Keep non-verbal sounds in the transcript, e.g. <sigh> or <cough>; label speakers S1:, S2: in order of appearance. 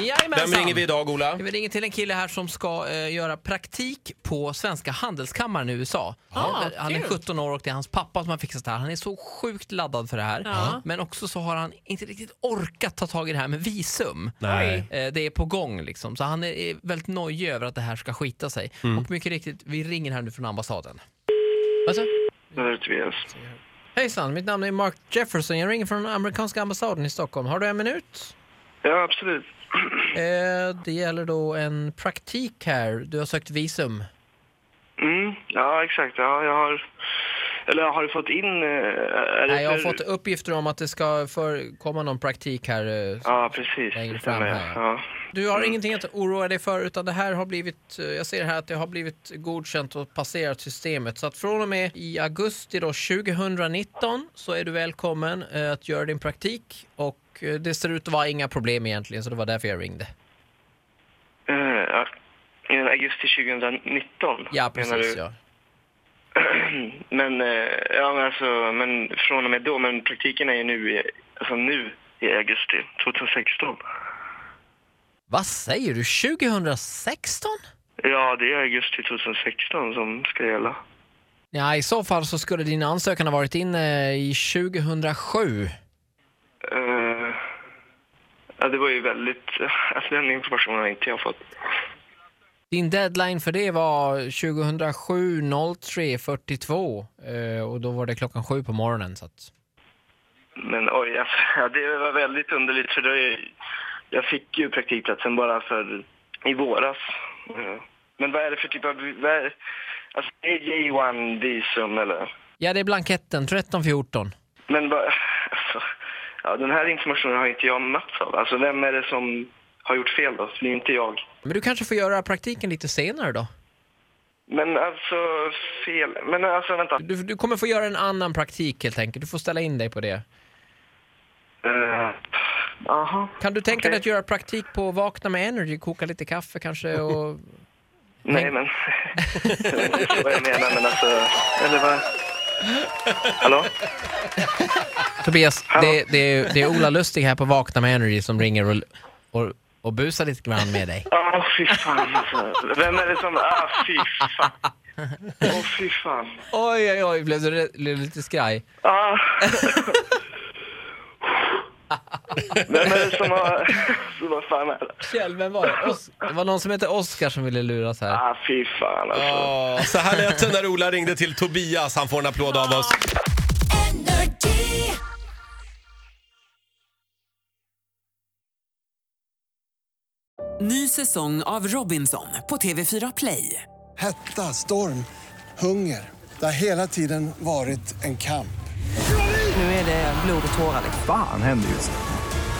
S1: Jajamensan.
S2: Vem ringer vi idag, Ola?
S1: Vi ringer till en kille här som ska eh, göra praktik på Svenska Handelskammaren i USA. han, eh,
S3: Ah,
S1: han är
S3: kul.
S1: 17 år och det är hans pappa som har fixat det här. Han är så sjukt laddad för det här. Men också så har han inte riktigt orkat ta tag i det här med visum.
S2: Nej.
S1: Eh, Det är på gång liksom. Så han är- är väldigt nojig över att det här ska skita sig. Och mycket riktigt, vi ringer här nu från ambassaden. Alltså,
S4: Det är Tobias.
S1: hejsan, mitt namn är Mark Jefferson. Jag ringer från amerikanska ambassaden i Stockholm. Har du en minut?
S4: Ja, absolut.
S1: Eh, Det gäller då en praktik här. Du har sökt visum.
S4: Mm, ja, exakt. Ja, jag har... Eller har du fått in... eh, Är det
S1: Nej, jag har
S4: för-
S1: fått uppgifter om att det ska förekomma någon praktik här. eh,
S4: Ja, precis.
S1: längre
S4: Det
S1: fram
S4: stämmer.
S1: här.
S4: Ja.
S1: Du har ingenting att oroa dig för utan det här har blivit, eh, jag ser här att det har blivit godkänt och passerat systemet. Så att från och med i augusti då 2019 så är du välkommen eh, att göra din praktik och eh, det ser ut att vara inga problem egentligen så det var därför jag ringde.
S4: Eh, ja. Eh, augusti 2019,
S1: Ja precis ja.
S4: Men, eh, ja, men, alltså, men från och med då. Men praktiken är ju nu i, alltså nu i augusti 2016.
S1: Vad säger du? 2016?
S4: Ja, det är augusti 2016 som ska gälla.
S1: Ja, i så fall så skulle din ansökan ha varit inne i 2007.
S4: Eh, ja, det var ju väldigt... Alltså, den informationen har inte jag fått.
S1: Din deadline för det var 2007 03.42 eh, och då var det klockan sju på morgonen. Så att...
S4: Men oj, alltså, <laughs> ja, det var väldigt underligt för det, jag fick ju praktikplatsen bara för i våras. Ja. Men vad är det för typ av... Vad är, alltså, det är J1-visum eller?
S1: Ja, det är blanketten 1314.
S4: Men vad... <laughs> Alltså, ja, den här informationen har inte jag mötts av. Alltså, vem är det som har gjort fel då? Det är inte jag.
S1: Men du kanske får göra praktiken lite senare då?
S4: Men alltså, fel... Men alltså, vänta.
S1: Du, du kommer få göra en annan praktik helt enkelt. Du får ställa in dig på det.
S4: Eh, Jaha.
S1: Kan du tänka dig
S4: Okej.
S1: att göra praktik på Vakna med Energy, koka lite kaffe kanske <laughs> och...
S4: Nej, men... <laughs> det är inte vad jag menar, men alltså... Eller vad... Hallå?
S1: Tobias, det, det, är- det är Ola Lustig här på Vakna med Energy som ringer och, och, och busar lite grann med dig.
S4: Ja, fy fan alltså. Vem är det som... Ah, fy fan. Åh, fy fan.
S1: <laughs> Oj, oj, oj, blev du re- blev du lite skraj?
S4: Ah. Vem är det som har... <laughs> Så vad fan är det?
S1: Kjell, vem var det? Os- det var någon som hette Oskar som ville luras här.
S4: Ah, fy fan alltså.
S2: Ja, Så här lät det när Ola ringde till Tobias. Han får en applåd av oss.
S5: Ny säsong av Robinson på TV4 Play.
S6: Hetta, storm, hunger. Det har hela tiden varit en kamp.
S3: Nu är det blod och tårar.
S7: Fan händer just nu.